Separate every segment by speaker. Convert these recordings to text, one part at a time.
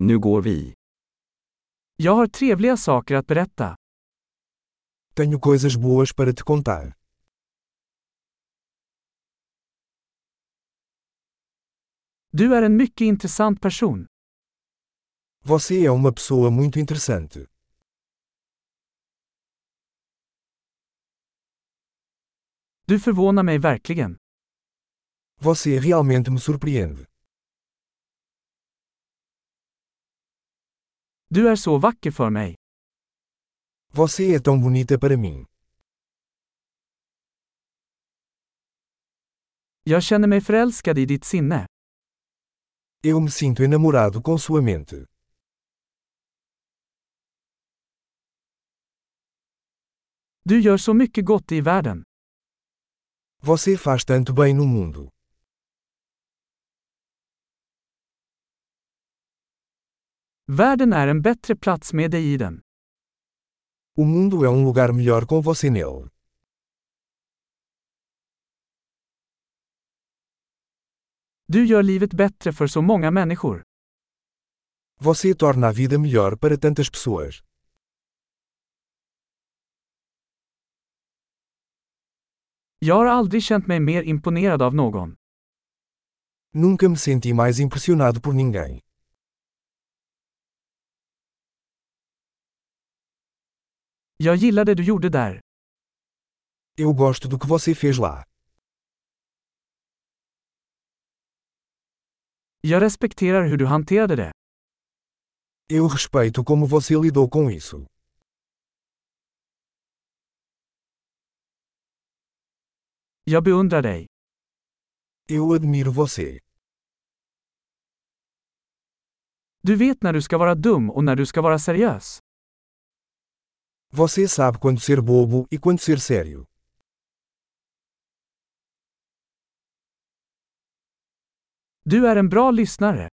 Speaker 1: Nu går vi.
Speaker 2: Jag har trevliga saker att berätta.
Speaker 3: Tenho coisas boas para te contar.
Speaker 2: Du är en mycket intressant person.
Speaker 3: Você é uma pessoa muito interessante.
Speaker 2: Du förvånar mig verkligen.
Speaker 3: Você realmente me surpreende.
Speaker 2: Du är så vacker för mig.
Speaker 3: Você é tão bonita para mim.
Speaker 2: Jag känner mig förälskad i ditt sinne.
Speaker 3: Eu me sinto enamorado com sua mente.
Speaker 2: Du gör så mycket gott i världen.
Speaker 3: Você faz tanto bem no mundo.
Speaker 2: Världen är en bättre plats med dig i den.
Speaker 3: O mundo é um lugar melhor com você nele.
Speaker 2: Du gör livet bättre för så många människor.
Speaker 3: Você torna a vida melhor para tantas pessoas.
Speaker 2: Jag har aldrig känt mig mer imponerad av någon.
Speaker 3: Nunca me senti mais impressionado por ninguém.
Speaker 2: Jag gillar det du gjorde där.
Speaker 3: Eu gosto do que você fez lá.
Speaker 2: Jag respekterar hur du hanterade det.
Speaker 3: Eu respeito como você lidou com isso.
Speaker 2: Jag beundrar dig.
Speaker 3: Eu admiro você.
Speaker 2: Du vet när du ska vara dum och när du ska vara seriös.
Speaker 3: Você sabe quando ser bobo e quando ser sério.
Speaker 2: Du är en bra lyssnare.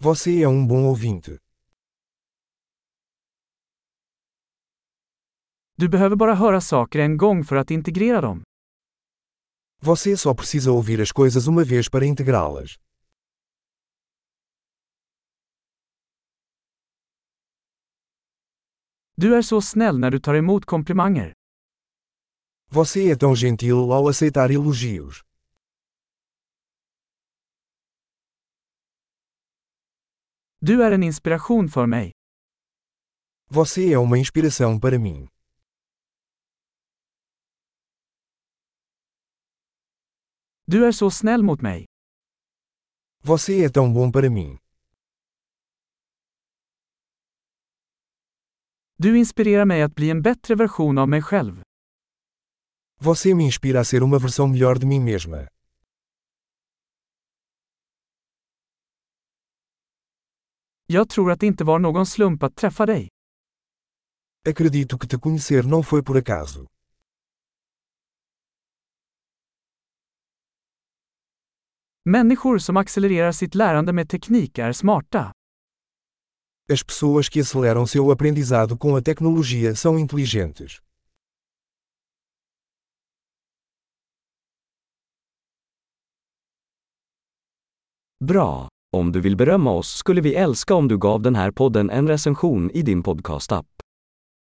Speaker 3: Você é um bom ouvinte.
Speaker 2: Du behöver bara höra saker en gång för att integrera dem.
Speaker 3: Você só precisa ouvir as coisas uma vez para integrá-las.
Speaker 2: Du är så snäll när du tar emot komplimanger.
Speaker 3: Você é tão gentil ao aceitar elogios.
Speaker 2: Du är en inspiration för mig.
Speaker 3: Você é uma inspiração para mim.
Speaker 2: Du är så snäll mot mig.
Speaker 3: Você é tão bom para mim.
Speaker 2: Du inspirerar mig att bli en bättre version av mig själv.
Speaker 3: Você me inspira a ser uma versão melhor de mim mesma.
Speaker 2: Jag tror att det inte var någon slump att träffa dig.
Speaker 3: Acredito que te conhecer não foi por acaso.
Speaker 2: Människor som accelererar sitt lärande med teknik är smarta.
Speaker 3: As pessoas que aceleram seu aprendizado com a tecnologia são inteligentes.
Speaker 1: Bra! Om du vill berömma oss skulle vi älska om du gav den här podden en recension i din podcastapp.